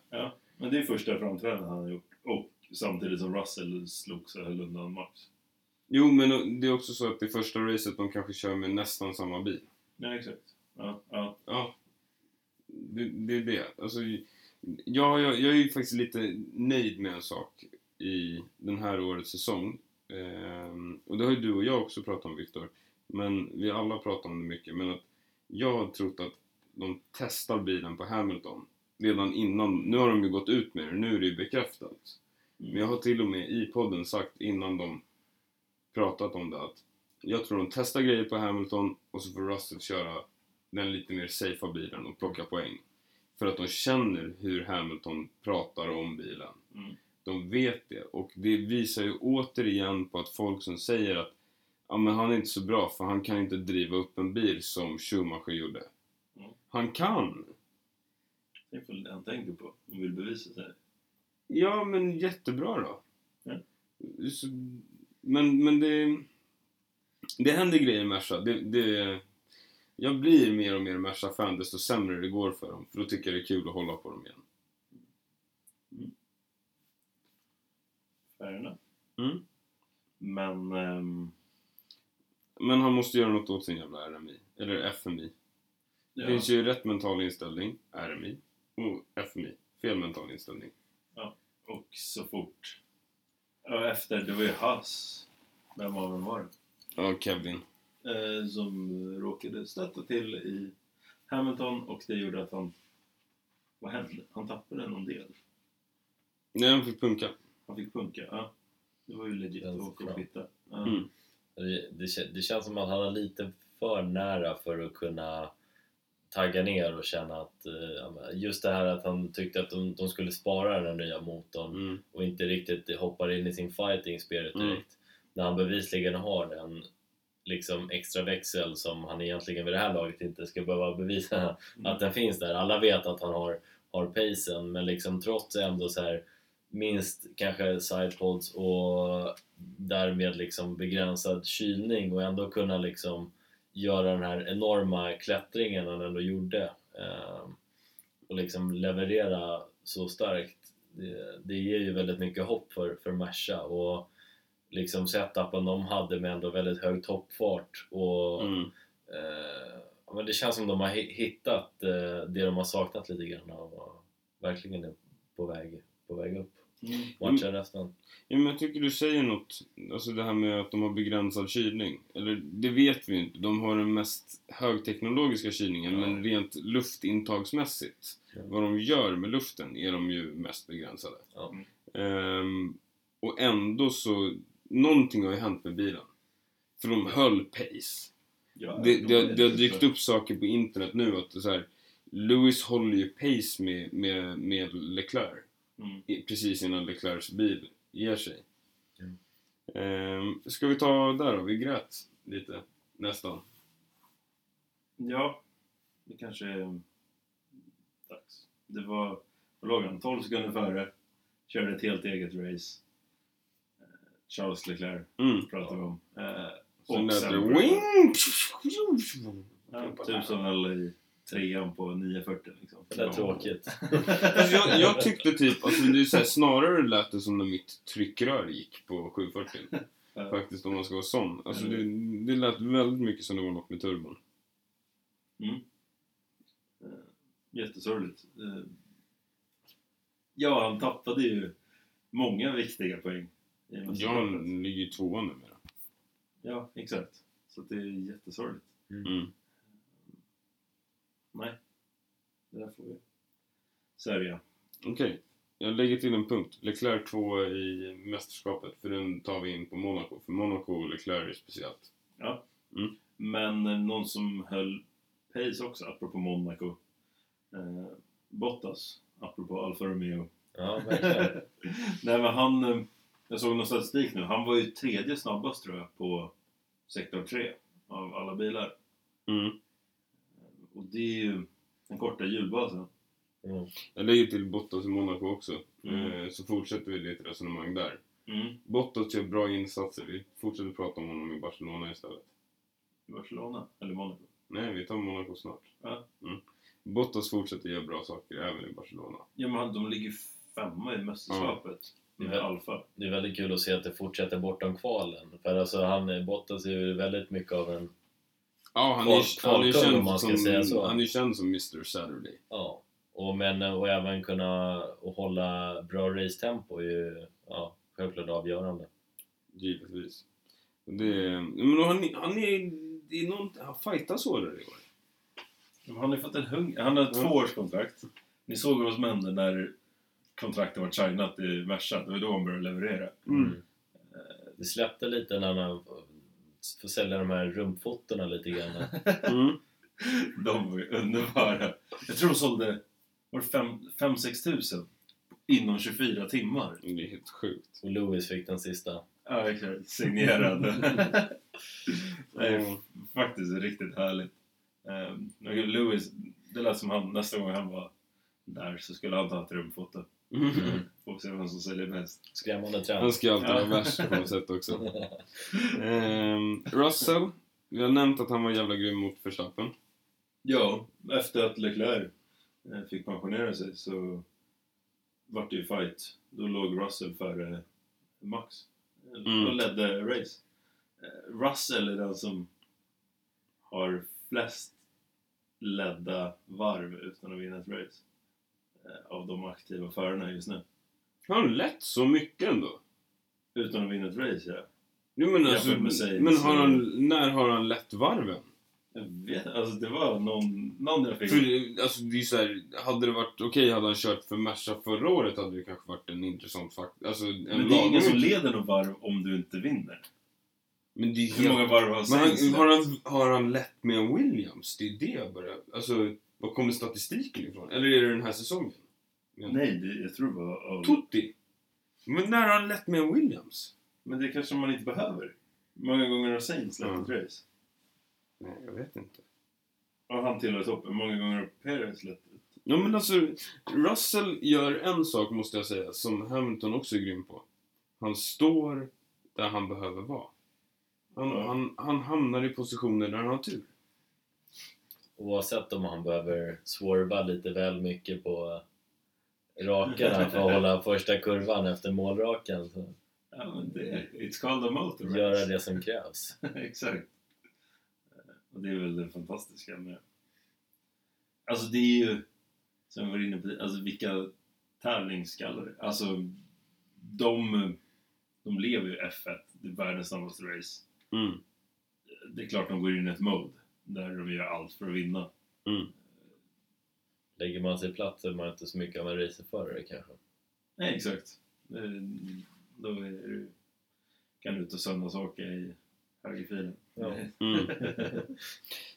Speaker 2: Men det är första framträdandet han har gjort. Och samtidigt som Russell slogs och höll undan Max.
Speaker 1: Jo, men det är också så att det första racet de kanske kör med nästan samma bil.
Speaker 2: Nej, exakt. Ja, ja.
Speaker 1: Ja. Det, det är det. Alltså, jag, jag, jag är ju faktiskt lite nöjd med en sak i den här årets säsong. Ehm, och det har ju du och jag också pratat om, Viktor. Men vi alla pratar om det mycket. Men att jag har trott att de testar bilen på Hamilton redan innan. Nu har de ju gått ut med det, nu är det ju bekräftat. Men jag har till och med i podden sagt innan de pratat om det att jag tror de testar grejer på Hamilton och så får Russell köra den lite mer safea bilen och plocka poäng. För att de känner hur Hamilton pratar om bilen.
Speaker 2: Mm.
Speaker 1: De vet det och det visar ju återigen på att folk som säger att ja, men han är inte så bra för han kan inte driva upp en bil som Schumacher gjorde.
Speaker 2: Mm.
Speaker 1: Han kan!
Speaker 2: Det är väl det han tänker på. Han vill bevisa sig.
Speaker 1: Ja, men jättebra då.
Speaker 2: Ja.
Speaker 1: Så, men, men det... Det händer grejer i Merca. Det, det, jag blir mer och mer Merca-fan desto sämre det går för dem. För då tycker jag det är kul att hålla på dem igen.
Speaker 2: Fair enough.
Speaker 1: Mm.
Speaker 2: Men... ehm,
Speaker 1: Men han måste göra något åt sin jävla RMI. Eller FMI.
Speaker 2: ja.
Speaker 1: Det finns ju rätt mental inställning, RMI, och FMI. Fel mental inställning.
Speaker 2: Och så fort... Ja, efter, det var ju Haas. Vem av dem var det?
Speaker 1: Ja, Kevin.
Speaker 2: Eh, som råkade stöta till i Hamilton och det gjorde att han... Vad hände? Han tappade någon del.
Speaker 1: Nej, han fick punka.
Speaker 2: Han fick punka. Ja. Det var ju legit
Speaker 3: Den
Speaker 2: att
Speaker 3: fram.
Speaker 2: fitta. Ja.
Speaker 1: Mm.
Speaker 3: Det, det, kän- det känns som att han är lite för nära för att kunna tagga ner och känna att eh, ja, men just det här att han tyckte att de, de skulle spara den nya motorn
Speaker 1: Mm.
Speaker 3: och inte riktigt hoppar in i sin fighting spirit direkt.
Speaker 1: Mm.
Speaker 3: När han bevisligen har den liksom extra växel som han egentligen vid det här laget inte ska behöva bevisa att den finns där. Alla vet att han har, har pacen men liksom trots ändå så här minst kanske sidepods och därmed liksom begränsad kylning och ändå kunna liksom göra den här enorma klättringen han ändå gjorde eh, och liksom leverera så starkt. Det, det ger ju väldigt mycket hopp för, för Merca och liksom setupen de hade med ändå väldigt hög toppfart och
Speaker 1: Mm.
Speaker 3: eh, ja, men det känns som de har hi- hittat eh, det de har saknat lite grann av och verkligen är på väg, på väg upp.
Speaker 2: Mm.
Speaker 3: Matchen resten.
Speaker 1: Ja, men jag tycker du säger något, alltså det här med att de har begränsad kylning. Eller det vet vi ju inte, de har den mest högteknologiska kylningen
Speaker 3: Ja.
Speaker 1: men rent luftintagsmässigt,
Speaker 3: Ja.
Speaker 1: vad de gör med luften är de ju mest begränsade.
Speaker 3: Ja.
Speaker 1: Ehm, och ändå så, någonting har ju hänt med bilen. För de höll pace.
Speaker 2: Ja,
Speaker 1: Det, det, har-
Speaker 2: är
Speaker 1: det har
Speaker 2: lite
Speaker 1: dykt
Speaker 2: så.
Speaker 1: upp saker på internet nu att det är så här, Lewis håller ju pace med, med, med Leclerc
Speaker 2: Mm.
Speaker 1: i- precis innan Leclercs bil ger sig.
Speaker 3: Ja.
Speaker 2: Mm.
Speaker 1: Ehm, ska vi ta där då? Vi grät lite. Nästan.
Speaker 2: Ja, det kanske är dags. Det var, vad låg han? 12 sekunder före. Körde ett helt eget race. Eh, Charles Leclerc
Speaker 1: Mm.
Speaker 2: pratar vi om. Eh,
Speaker 1: Sen lät det
Speaker 2: sen-
Speaker 1: wing!
Speaker 2: Ja, typ som väl i trean på 940 liksom.
Speaker 3: Det är tråkigt.
Speaker 1: Fast Alltså, jag, jag tyckte typ, alltså det är så här, snarare lät det som när mitt tryckrör gick på 740.
Speaker 2: Ja. Mm.
Speaker 1: Faktiskt om man ska vara sån. Alltså det, det lät väldigt mycket som det var något med turbon.
Speaker 2: Jättesorgligt. Eh, Ja, han tappade ju många viktiga poäng. i mästerskapet.
Speaker 1: John ligger ju tvåa numera.
Speaker 2: Ja, exakt. Så det är jättesorgligt.
Speaker 1: Mm.
Speaker 2: Det där får vi. Sörja.
Speaker 1: Okej. Jag lägger till en punkt. Leclerc tvåa i mästerskapet. För den tar vi in på Monaco. För Monaco och Leclerc är speciellt.
Speaker 2: Men eh, någon som höll pace också, apropå Monaco. Eh, Bottas, apropå Alfa Romeo.
Speaker 3: Ja, verkligen.
Speaker 2: Nej men han, eh, jag såg någon statistik nu, han var ju tredje snabbast tror jag på sektor 3 av alla bilar.
Speaker 1: Mm.
Speaker 2: Och det är ju den korta hjulbasen.
Speaker 3: Mm.
Speaker 1: Jag lägger till Bottas i Monaco också.
Speaker 2: Mm.
Speaker 1: Eh, Så fortsätter vi ditt resonemang där.
Speaker 2: Mm.
Speaker 1: Bottas gör bra insatser. Vi fortsätter prata om honom i Barcelona istället.
Speaker 2: I Barcelona, eller Monaco.
Speaker 1: Nej, vi tar Monaco snart.
Speaker 2: Ja.
Speaker 1: Mm. Bottas fortsätter göra bra saker även i Barcelona.
Speaker 2: Ja men han- de ligger femma i mästerskapet
Speaker 3: Ja.
Speaker 2: med Alfa.
Speaker 3: Det är väldigt kul att se att det fortsätter bortom kvalen. För alltså han Bottas är ju väldigt mycket av en...
Speaker 1: Ja, han
Speaker 3: Kval-
Speaker 1: är, han är,
Speaker 3: kvalkung,
Speaker 1: känd,
Speaker 3: om man ska
Speaker 1: som,
Speaker 3: säga så.
Speaker 1: han är känd som Mr Saturday.
Speaker 3: Ja. Och, men, och även kunna och hålla bra racetempo är ju ja, självklart avgörande.
Speaker 1: Givetvis. Det, är- men han, är- han är... Det är någon, han fightas hårdare i år.
Speaker 2: Men Han har ju fått en hung... Han har ett
Speaker 1: Mm.
Speaker 2: tvåårskontrakt. Ni såg vad som hände när kontrakten var signat i Merca. Det var då han började leverera.
Speaker 1: Mm.
Speaker 3: Eh, Det släppte lite när han får sälja de här rumpfotorna lite grann.
Speaker 1: Mm.
Speaker 2: De var ju underbara. Jag tror de sålde 5-6 tusen inom 24 timmar.
Speaker 1: Det är helt sjukt.
Speaker 3: Och Lewis fick den sista.
Speaker 2: Ja, exakt. Signerade. Nej,
Speaker 1: Mm.
Speaker 2: f- faktiskt riktigt härligt. Um, Lewis, det lät som han nästa gång han var där så skulle han ta ett rumfoto. Får vi se vem som säljer mest.
Speaker 3: Skrämmande
Speaker 1: Mm. Han
Speaker 3: trend.
Speaker 1: ska ju alltid vara
Speaker 2: Ja.
Speaker 1: värst på något sätt också. Ehm, Russell. Vi har nämnt att han var jävla grym mot Verstappen.
Speaker 2: Ja, efter att Leclerc eh, fick pensionera sig så vart det ju fight. Då låg Russell före Max eh,
Speaker 1: Mm.
Speaker 2: och ledde race. Eh, Russell är den som har flest ledda varv utan att vinna ett race eh, av de aktiva förarna just nu.
Speaker 1: Han lett så mycket ändå.
Speaker 2: Utan att vinna ett race, ja.
Speaker 1: Jo, men,
Speaker 2: Jämfört
Speaker 1: alltså,
Speaker 2: med Mercedes,
Speaker 1: men har
Speaker 2: så-
Speaker 1: han, när har han lett varven?
Speaker 2: Jag vet alltså det var någon, någon jag fick...
Speaker 1: För eh, alltså, det är så här, hade det varit okej hade han kört för Merca förra året hade det kanske varit en intressant faktor. Alltså, en
Speaker 2: Men det är ingen
Speaker 1: lagom-
Speaker 2: som leder något varv om du inte vinner.
Speaker 1: Men det är
Speaker 2: Hur
Speaker 1: helt...
Speaker 2: många varv har
Speaker 1: Men
Speaker 2: Sainz
Speaker 1: han,
Speaker 2: lett?
Speaker 1: har, han, har han lett med en Williams? Det är det jag börjar... Alltså, var kommer statistiken ifrån? Eller är det den här säsongen?
Speaker 2: Nej, det, jag tror det var av...
Speaker 1: Totti! Men när har han lett med en Williams?
Speaker 2: Men det kanske man inte behöver. Många gånger har Sainz lett ett race.
Speaker 1: Nej, jag vet inte.
Speaker 2: Och han tillhör toppen. Många gånger har Perez lett ett.
Speaker 1: Ja, men alltså, Russell gör en sak, måste jag säga, som Hamilton också är grym på. Han står där han behöver vara. Han,
Speaker 2: Ja.
Speaker 1: han, han hamnar i positioner där han har tur.
Speaker 3: Oavsett om han behöver swerva lite väl mycket på rakan här för att hålla första kurvan efter målrakan. Så.
Speaker 2: Ja, men det, it's called a motor race.
Speaker 3: Göra det som krävs.
Speaker 2: Exakt. Eh, Och det är väl det fantastiska med Alltså det är ju, som jag var inne på, alltså vilka tävlingsskallar. Alltså de, de lever ju F1, det är världens snabbaste race.
Speaker 1: Mm.
Speaker 2: Det är klart de går in i ett mode där de gör allt för att vinna.
Speaker 1: Mm.
Speaker 3: Lägger man sig platt så är man inte så mycket av en racerförare kanske.
Speaker 2: Nej, exakt. Eh, Då är du, kan du ut och söndagsåka i högerfilen.
Speaker 3: Ja.
Speaker 1: Mm.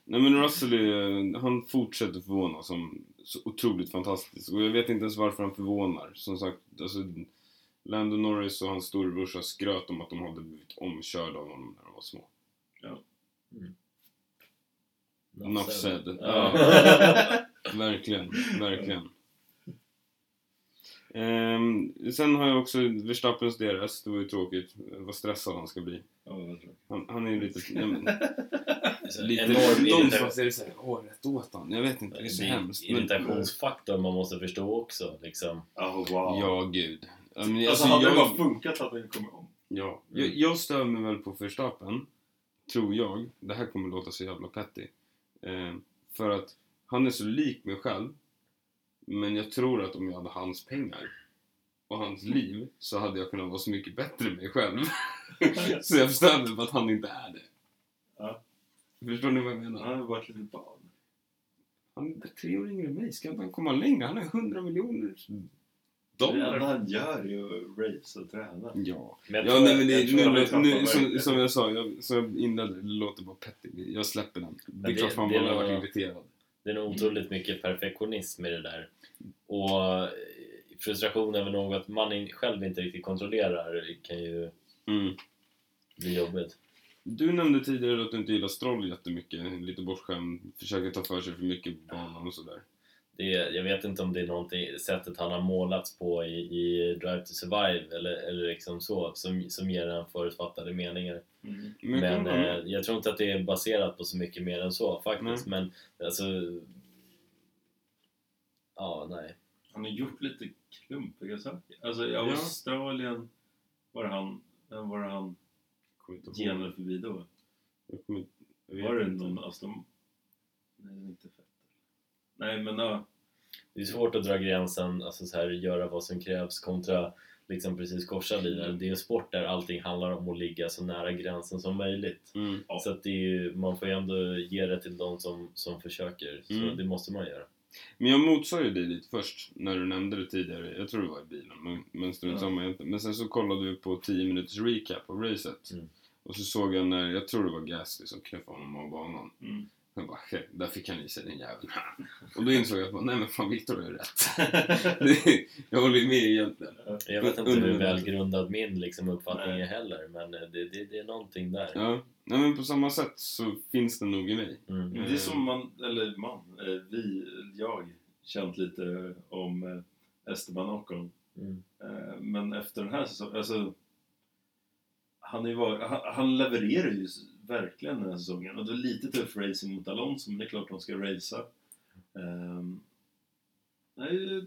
Speaker 1: Nej men Russell är, eh, han fortsätter förvåna som så otroligt fantastisk. Och jag vet inte ens varför han förvånar. Som sagt, alltså, Lando Norris och hans storebrorsa skröt om att de hade blivit omkörda av honom när de var små. Enough said.
Speaker 3: Ja.
Speaker 1: Ja. Verkligen, verkligen. Ehm, sen har jag också Verstappens DRS, det var ju tråkigt. Eh, Vad stressad han ska bli.
Speaker 2: Ja, vad tråkigt.
Speaker 1: Han, han är ju lite... Nej, men,
Speaker 3: Så
Speaker 1: lite
Speaker 3: enorm irritation.
Speaker 1: någonstans är det såhär, åh rätt åt han. Jag vet inte, det är så
Speaker 3: Det är en
Speaker 1: hemskt. men-
Speaker 3: irritationsfaktor man måste förstå också. Liksom.
Speaker 2: Oh, wow.
Speaker 1: Ja, gud. Ja, men,
Speaker 2: Alltså,
Speaker 1: alltså,
Speaker 2: hade det bara
Speaker 1: jag,
Speaker 2: funkat hade det kommit om.
Speaker 1: ja, mm. jag, jag stör mig väl på Verstappen, tror jag. Det här kommer låta så jävla petty. Eh, för att han är så lik mig själv. Men jag tror att om jag hade hans pengar och hans liv så hade jag kunnat vara så mycket bättre än mig själv. så jag stör mig på att han inte är det.
Speaker 2: Ja.
Speaker 1: Förstår ni vad jag menar?
Speaker 2: Han hade varit lite barn.
Speaker 1: Han är bara tre år yngre än mig. Ska inte han komma längre? Han är 100 miljoner
Speaker 2: Det
Speaker 1: dollar.
Speaker 2: enda han gör är ju race och träna.
Speaker 1: Ja.
Speaker 3: Men
Speaker 1: Ja,
Speaker 3: tror-
Speaker 1: nej, men det,
Speaker 2: jag tror jag vill
Speaker 1: nu,
Speaker 2: tappa
Speaker 1: nu, som,
Speaker 2: mig.
Speaker 1: som jag sa, jag, som jag inledde, det låter bara petty. Jag släpper den. Det är
Speaker 3: det-
Speaker 1: klart fan
Speaker 3: det
Speaker 1: man har
Speaker 3: var-
Speaker 1: varit irriterad.
Speaker 3: Det är nog otroligt mycket perfektionism i det där. Och eh, frustration över något man in- själv inte riktigt kontrollerar kan ju bli jobbigt.
Speaker 1: Du nämnde tidigare att du inte gillar Stroll jättemycket. Lite bortskämd, försöker ta för sig för mycket på banan och sådär.
Speaker 3: Det är, jag vet inte om det är någonting, sättet han har målats på i, i Drive to Survive eller, eller liksom så, som, som ger en förutfattade meningar.
Speaker 2: Mm.
Speaker 1: Men, jag
Speaker 3: Men
Speaker 1: kan hålla med.
Speaker 3: eh, jag tror inte att det är baserat på så mycket mer än så faktiskt. Men alltså... Ja, nej.
Speaker 2: Han har gjort lite klumpiga saker. Alltså i
Speaker 1: Ja.
Speaker 2: Australien var det han, vem var det han
Speaker 1: Kommer inte ihåg.
Speaker 2: genade förbi då?
Speaker 1: Jag kommer inte- jag vet
Speaker 2: Var det
Speaker 1: inte.
Speaker 2: någon Aston... Nej, det var inte Fett. Nej, men ja.
Speaker 3: Det är svårt att dra gränsen, alltså så här, göra vad som krävs kontra liksom precis korsa linjen. Det är en sport där allting handlar om att ligga så nära gränsen som möjligt.
Speaker 1: Mm.
Speaker 2: Ja.
Speaker 3: Så att det är ju, man får ju ändå ge det till de som, som försöker, så
Speaker 1: Mm.
Speaker 3: det måste man göra.
Speaker 1: Men jag motsade ju dig lite först, när du nämnde det tidigare. Jag tror det var i bilen, men, men strunt
Speaker 2: Ja.
Speaker 1: samma egentligen. Men sen så kollade vi på 10 minuters recap av racet.
Speaker 3: Mm.
Speaker 1: Och så såg jag när, jag tror det var Gasly som knuffade honom av banan.
Speaker 2: Mm.
Speaker 1: Jag bara, "He, där fick han i sig den jäveln. Och då insåg jag att nej men fan Viktor har ju rätt. Det- jag håller ju med egentligen.
Speaker 3: Jag vet inte
Speaker 1: Under-
Speaker 3: hur välgrundad min liksom, uppfattning
Speaker 2: Nej.
Speaker 3: är heller, men eh, det, det, det är någonting där.
Speaker 1: Ja. Nej men på samma sätt så finns det nog i mig.
Speaker 3: Mm.
Speaker 2: Det är som man, eller man, eh, vi, jag, känt lite om eh, Esteban Ocon.
Speaker 3: Mm.
Speaker 2: Eh, Men efter den här säsongen, alltså han, är ju var, han, han levererar ju s- verkligen den här säsongen. Och det är lite tuff racing mot Alonso, men det är klart de ska racea. Ehm, nej, det är-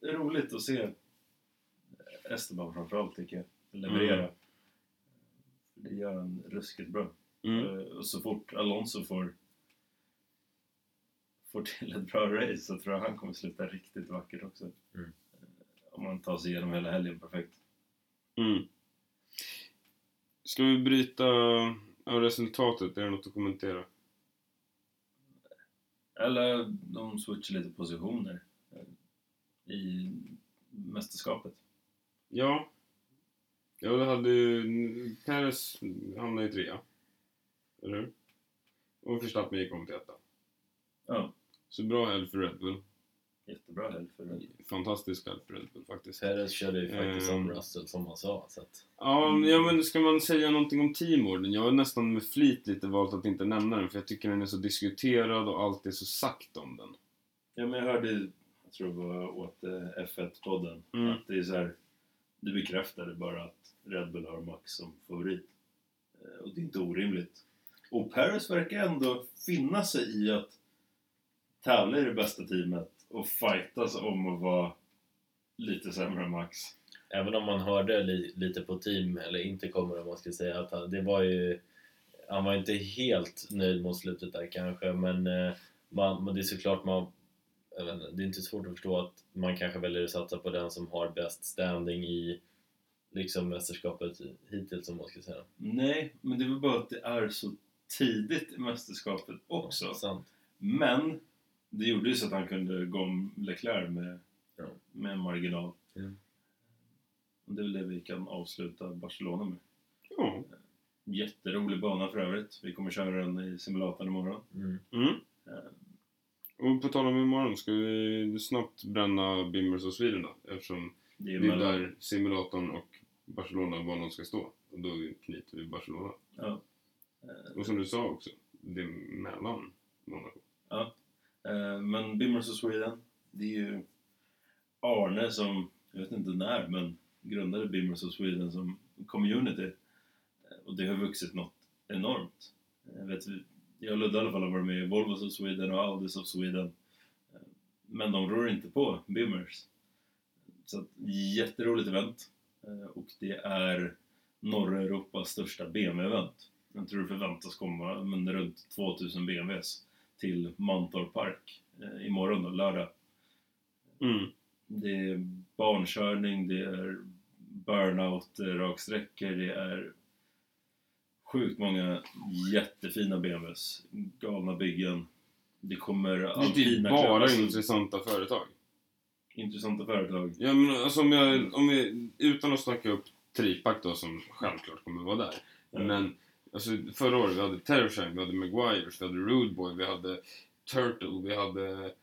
Speaker 2: det är roligt att se Esteban framförallt, tycker jag, leverera. Det gör han ruskigt bra.
Speaker 1: Mm.
Speaker 2: Eh, Och så fort Alonso får, får till ett bra race så tror jag han kommer sluta riktigt vackert också.
Speaker 3: Mm.
Speaker 2: Eh, Om han tar sig igenom hela helgen perfekt.
Speaker 1: Mm. Ska vi bryta ja, resultatet? Är det något att kommentera?
Speaker 2: Eller de switchar lite positioner eh, i mästerskapet.
Speaker 1: Ja. Ja, det hade ju... Perez hamnade i trea. Eller hur? Och Verstappen gick om till etta.
Speaker 2: Ja,
Speaker 1: Så bra helg för Red Bull.
Speaker 2: jättebra helg för det.
Speaker 1: Fantastisk helg för Red Bull faktiskt.
Speaker 3: Perez körde ju faktiskt om
Speaker 1: Mm.
Speaker 3: Russell som han sa. Så att,
Speaker 1: Ja,
Speaker 2: Mm.
Speaker 1: ja, men ska man säga någonting om teamorden? Jag har nästan med flit lite valt att inte nämna den för jag tycker den är så diskuterad och allt är så sagt om den.
Speaker 2: Ja, men jag hörde, jag tror det var åt eh, F1-podden,
Speaker 1: Mm.
Speaker 2: att det är så här, det bekräftade bara att Red Bull har Max som favorit. Eh, Och det är inte orimligt. Och Paris verkar ändå finna sig i att tävla i det bästa teamet och fightas om att vara lite sämre än Max.
Speaker 3: även om man hörde li, lite på team, eller inte kommer om man ska säga, att han, det var ju... Han var inte helt nöjd mot slutet där kanske, men eh, man, men det är såklart man... jag vet inte, Det är inte svårt att förstå att man kanske väljer att satsa på den som har bäst standing i liksom mästerskapet hittills om man ska säga.
Speaker 2: Nej, men det är väl bara att det är så tidigt i mästerskapet också.
Speaker 3: Sant.
Speaker 2: Men det gjorde ju så att han kunde gå om Leclerc med,
Speaker 3: Ja.
Speaker 2: med en marginal.
Speaker 3: Ja.
Speaker 2: Och det är väl det vi kan avsluta Barcelona med.
Speaker 1: Ja.
Speaker 2: Jätterolig bana för övrigt. Vi kommer köra den i simulatorn imorgon.
Speaker 3: Mm.
Speaker 1: Mm. Och på tal om imorgon, ska vi snabbt bränna Bimmers och Sweden då? Eftersom
Speaker 2: Det är
Speaker 1: det är
Speaker 2: mellan-
Speaker 1: där simulatorn och Barcelona var de ska stå. Och då knyter vi Barcelona.
Speaker 2: Ja.
Speaker 1: Och som du sa också, det är mellan Monaco.
Speaker 2: Eh, Men Bimmers of Sweden, det är ju Arne som, jag vet inte när, men grundade Bimmers of Sweden som community. Eh, Och det har vuxit något enormt. Jag, vet, jag och Ludde i alla fall har varit med i Volvos of Sweden och Audis of Sweden. Eh, Men de rör inte på Bimmers. Så att, jätteroligt event. Eh, Och det är norra Europas största BMW-event. Jag tror det förväntas komma men runt 2000 BMWs till Mantorp Park eh, imorgon då, lördag.
Speaker 1: Mm.
Speaker 2: Det är barnkörning, det är burnout, eh, raksträckor, det är sjukt många jättefina BMWs, galna byggen. Det kommer
Speaker 1: Det är typ
Speaker 2: alpina
Speaker 1: bara
Speaker 2: klasser,
Speaker 1: intressanta företag.
Speaker 2: intressanta företag.
Speaker 1: Ja, men alltså om, jag, om vi, utan att snacka upp Tripac då, som självklart kommer vara där.
Speaker 2: Eh,
Speaker 1: Men alltså, förra året vi hade Terrorshine, vi hade Maguires, vi hade Rudeboy, vi hade Turtle, vi hade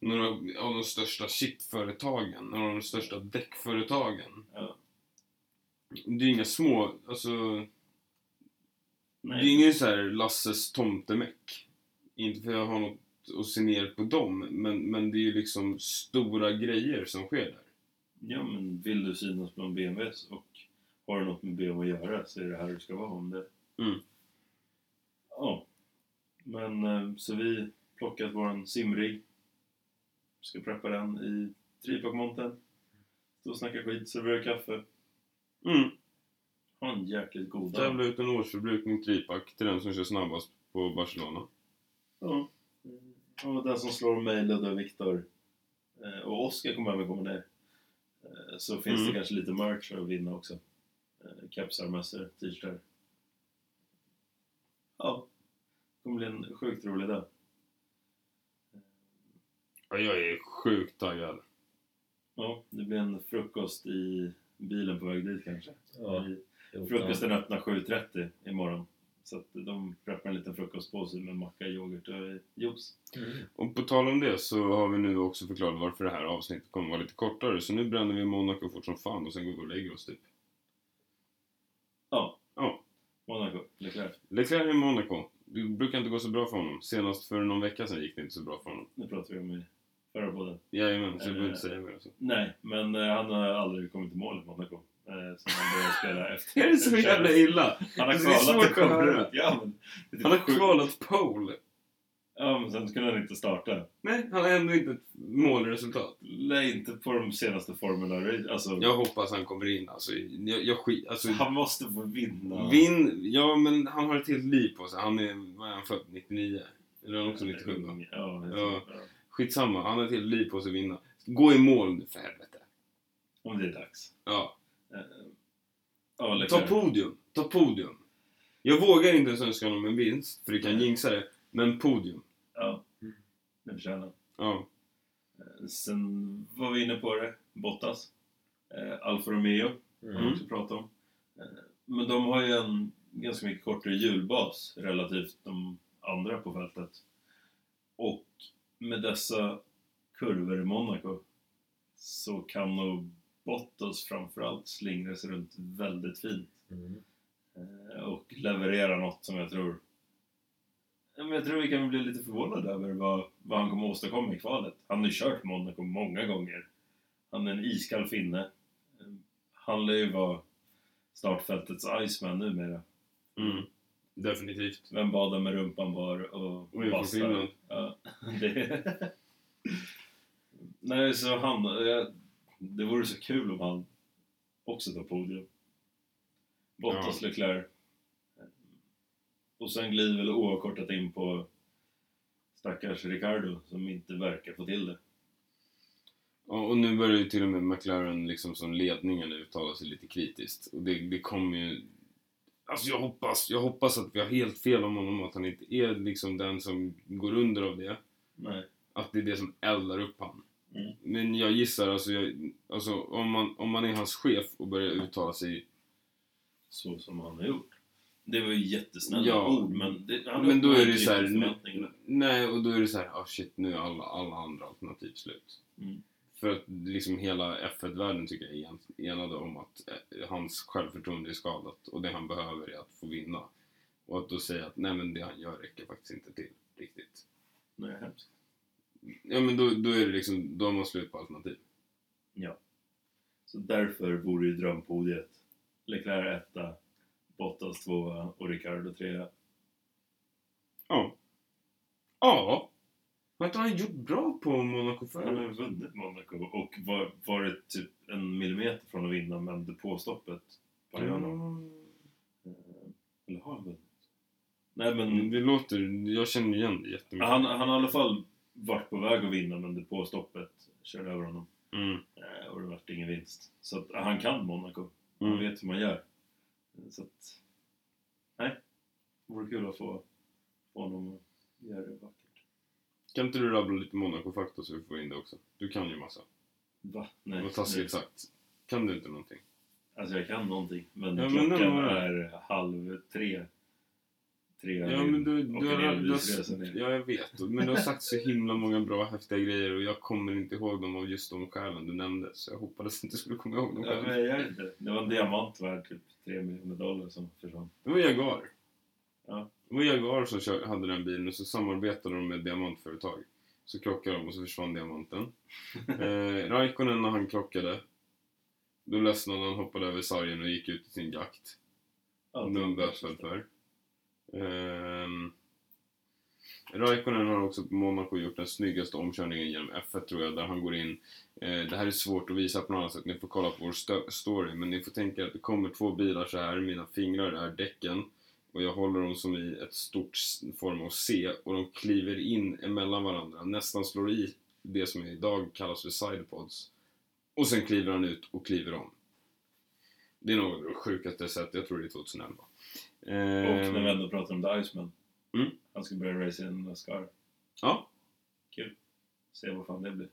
Speaker 1: några av de största chipföretagen, några av de största däckföretagen.
Speaker 2: Ja.
Speaker 1: Det är inga små, alltså det är
Speaker 2: Nej,
Speaker 1: ingen så här Lasses tomtemäck. Inte för jag har något att se ner på dem, men, men det är ju liksom stora grejer som sker där.
Speaker 2: ja, men vill du synas bland BMWs och har du något med BMW att göra så är det här du ska vara om det.
Speaker 1: Mm.
Speaker 2: Ja, men eh, så vi plockat våran simrig. Ska preppa den i tripackmontern. Stå och snacka skit, servera kaffe.
Speaker 1: Mm.
Speaker 2: Ha en jäkligt god dag.
Speaker 1: Tävla ut en årsförbrukning tripack till den som kör snabbast på Barcelona.
Speaker 2: Ja. Och den som slår mig, Ludde och Viktor eh, och Oskar kommer även komma ner. Eh, Så finns
Speaker 1: Mm.
Speaker 2: det kanske lite merch att vinna också. Eh, Kepsar, mössor, t-shirtar. Ja, det kommer bli en sjukt rolig dag.
Speaker 1: Ja, jag är sjukt taggad.
Speaker 2: Ja, det blir en frukost i bilen på väg dit kanske.
Speaker 3: Ja,
Speaker 2: I-
Speaker 3: jo,
Speaker 2: Frukosten öppnar 7.30 imorgon. Så att de preppar en liten frukostpåse med macka, yoghurt och juice.
Speaker 3: ja. Mm.
Speaker 1: Och på tal om det så har vi nu också förklarat varför det här avsnittet kommer vara lite kortare. Så nu bränner vi Monaco fort som fan och sen går vi och lägger oss typ.
Speaker 2: Ja.
Speaker 1: Ja.
Speaker 2: Monaco, Leclerc.
Speaker 1: Leclerc i Monaco. Det brukar inte gå så bra för honom. Senast för någon vecka sedan gick det inte så bra för honom.
Speaker 2: Nu pratar vi om i förra podden.
Speaker 1: Jajamän, så jag behöver inte säga mer. Alltså.
Speaker 2: Nej, men eh, han har aldrig kommit i mål i Monaco. Eh, som han började spela efter.
Speaker 1: Det är så jävla illa!
Speaker 2: Han har
Speaker 1: Det är svårt att
Speaker 2: kvalat och kommit
Speaker 1: höra.
Speaker 2: ut. Ja, men, det är typ
Speaker 1: Han har
Speaker 2: sjukt.
Speaker 1: kvalat pole.
Speaker 2: Ja, men sen kunde han inte starta.
Speaker 1: Nej, han har ändå inte ett målresultat.
Speaker 2: Nej, inte på de senaste formula alltså,
Speaker 1: Jag hoppas han kommer in. Alltså, jag, jag skit... Alltså,
Speaker 2: Han måste få vinna.
Speaker 1: Vinn, ja men han har ett helt liv på sig. Han är, vad är han född? 99? Eller är han också 97 va?
Speaker 2: Ja, jag
Speaker 1: Ja.
Speaker 2: tror- ja.
Speaker 1: Skitsamma, han har ett helt liv på sig att vinna. Gå i mål nu för helvete.
Speaker 2: Om det är dags.
Speaker 1: Ja.
Speaker 2: Eh, Ja,
Speaker 1: Ta
Speaker 2: Leclerc.
Speaker 1: podium, ta podium. Jag vågar inte ens önska honom en vinst, för du kan jinxa det. Men podium.
Speaker 2: Ja, det förtjänar han.
Speaker 1: Ja.
Speaker 2: Eh, Sen var vi inne på det. Bottas. Eh, Alfa Romeo. har vi
Speaker 3: Mm.
Speaker 2: också pratat om. Eh, Men de har ju en ganska mycket kortare hjulbas relativt de andra på fältet. Och med dessa kurvor i Monaco så kan nog Bottas framförallt slingra sig runt väldigt fint
Speaker 3: Mm.
Speaker 2: eh, och leverera något som jag tror Ja, men jag tror vi kan bli lite förvånade över vad, vad han kommer att åstadkomma i kvalet. Han har ju kört Monaco många gånger. Han är en iskall finne. Eh, Han lär ju vara startfältets Iceman numera.
Speaker 1: Mm. Definitivt.
Speaker 2: Vem badar med rumpan bar och
Speaker 1: Och är från Finland.
Speaker 2: Ja, det... Nej, så han... eh, Det vore så kul om han också ta podium. Bottas, Leclerc. Och sen glider väl oavkortat in på stackars Ricardo som inte verkar få till det.
Speaker 1: Ja, och nu börjar ju till och med McLaren liksom som ledningen uttala sig lite kritiskt. Och det, det kommer ju... Alltså jag hoppas, jag hoppas att vi har helt fel om honom, att han inte är liksom den som går under av det.
Speaker 2: Nej.
Speaker 1: Att det är det som eldar upp han.
Speaker 2: Mm.
Speaker 1: Men jag gissar, alltså, jag, alltså om, man, om man är hans chef och börjar uttala sig...
Speaker 2: Så som han har gjort. Det var ju jättesnälla
Speaker 1: Ja.
Speaker 2: ord men... Det, han
Speaker 1: men då är
Speaker 2: uppnår
Speaker 1: det
Speaker 2: inte
Speaker 1: så här,
Speaker 2: riktigt
Speaker 1: nu,
Speaker 2: förväntningarna.
Speaker 1: Nej, och då är det så här, ah shit, nu är alla, alla andra alternativ slut.
Speaker 2: Mm.
Speaker 1: För att liksom hela F1-världen tycker jag är en- enade om att eh, hans självförtroende är skadat och det han behöver är att få vinna. Och att då säga att nej men det han gör räcker faktiskt inte till riktigt.
Speaker 2: Nej, hemskt.
Speaker 1: Ja men då, då är det liksom, då har man slut på alternativ.
Speaker 2: Så därför vore ju drömpodiet Leclerc etta, Bottas tvåa och Ricardo trea.
Speaker 1: Ja. Ja! Vad inte han gjort bra på Monaco
Speaker 2: Han har
Speaker 1: förut?
Speaker 2: ju vunnit Monaco och var, varit typ en millimeter från att vinna men depåstoppet var
Speaker 1: Mm.
Speaker 2: ju honom. Eller har han vunnit? Nej
Speaker 1: Mm,
Speaker 2: men
Speaker 1: Det låter, jag känner igen det jättemycket.
Speaker 2: han, han har i alla fall varit på väg att vinna men depåstoppet körde över honom.
Speaker 1: Mm.
Speaker 2: Eh, Och det vart ingen vinst. Så att, han kan Monaco. Han
Speaker 1: Mm.
Speaker 2: vet hur man gör. Så att... Nej. Det vore kul att få, få honom att göra det vackert.
Speaker 1: Kan inte du rabbla lite Monaco-fakta så vi får in det också? Du kan ju massa.
Speaker 2: Va? Nej.
Speaker 1: Vad taskigt sagt. Kan du inte någonting?
Speaker 2: Alltså jag kan någonting. Men
Speaker 1: Ja, men
Speaker 2: klockan
Speaker 1: den var-
Speaker 2: är halv tre. Tre
Speaker 1: Ja, men du,
Speaker 2: och
Speaker 1: du har,
Speaker 2: en
Speaker 1: du
Speaker 2: elbilsresa
Speaker 1: har,
Speaker 2: ner.
Speaker 1: ja, jag vet. Men du har sagt så himla många bra, häftiga grejer och jag kommer inte ihåg dem av just de skälen du nämnde. Så jag hoppades inte skulle komma ihåg dem
Speaker 2: Ja, men
Speaker 1: själv.
Speaker 2: jag gör inte det. Det var en diamant värd typ tre miljoner dollar som försvann.
Speaker 1: Det var Jaguar.
Speaker 2: Ja.
Speaker 1: Det var Jaguar som kör, hade den bilen och så samarbetade de med ett diamantföretag. Så krockade de och så försvann diamanten. eh, Raikkonen när han krockade, då ledsnade han, hoppade över sargen och gick ut i sin jakt.
Speaker 2: Allt.
Speaker 1: Nu är hon bötfälld för. Ehm, Raikkonen har också på Monaco gjort den snyggaste omkörningen genom F1 tror jag, där han går in. Eh, det här är svårt att visa på något annat sätt, ni får kolla på vår sto- story, men ni får tänka er att det kommer två bilar så här, mina fingrar är däcken och jag håller dem som i ett stort s- form av C och de kliver in emellan varandra, nästan slår i det som idag kallas för sidepods. Och sen kliver han ut och kliver om. Det är något av det sjukaste jag sett, jag tror det är 2011.
Speaker 2: Och när vi
Speaker 1: Ehm,
Speaker 2: ändå pratar om The Iceman.
Speaker 1: Mm.
Speaker 2: Han ska börja racea i en Nascar.
Speaker 1: Ja.
Speaker 2: Kul. Se vad fan det blir.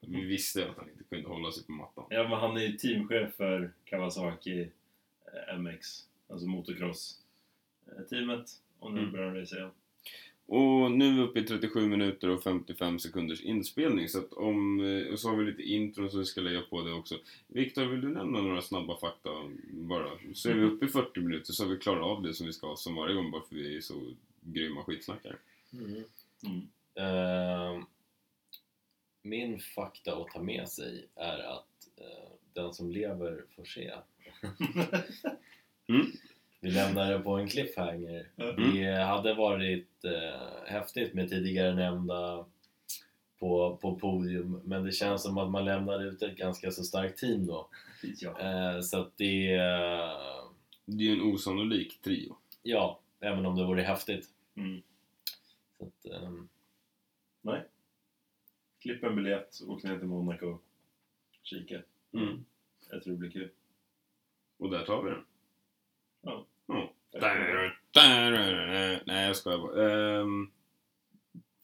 Speaker 1: vi visste ju att han inte kunde hålla sig på mattan.
Speaker 2: Ja, men han är ju teamchef för Kawasaki eh, MX, alltså motocross-teamet. Och nu
Speaker 1: Mm.
Speaker 2: börjar han racea igen.
Speaker 1: Och nu är vi uppe i 37 minuter och 55 sekunders inspelning. Så att om, eh, och så har vi lite intron som vi ska lägga på det också. Viktor, vill du nämna några snabba fakta bara? Så är vi uppe i 40 minuter så har vi klarat av det som vi ska som varje gång bara för vi är så grymma skitsnackare.
Speaker 3: Mm.
Speaker 2: Mm.
Speaker 3: Ehm, min fakta att ta med sig är att eh, den som lever får se.
Speaker 1: Mm.
Speaker 3: Vi lämnar det på en cliffhanger.
Speaker 1: Mm.
Speaker 3: Det hade varit eh, häftigt med tidigare nämnda på, på podium men det känns som att man lämnar ut ett ganska så starkt team då.
Speaker 2: Ja.
Speaker 3: Eh, så att det... Eh,
Speaker 1: Det är ju en osannolik trio.
Speaker 3: ja, även om det vore häftigt.
Speaker 2: Mm.
Speaker 3: Så att, ehm,
Speaker 2: Klipp en biljett, åk ner till Monaco och kika. Jag tror det blir kul.
Speaker 1: Och där tar vi den.
Speaker 2: Ja.
Speaker 1: Ja. Där, där, där. Nej, jag skojar bara. Ehm,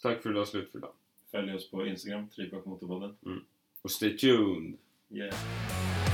Speaker 1: tack för idag, slut för idag.
Speaker 2: Följ oss på Instagram, Tripak Motorpodden.
Speaker 1: Och stay tuned!
Speaker 2: Yeah.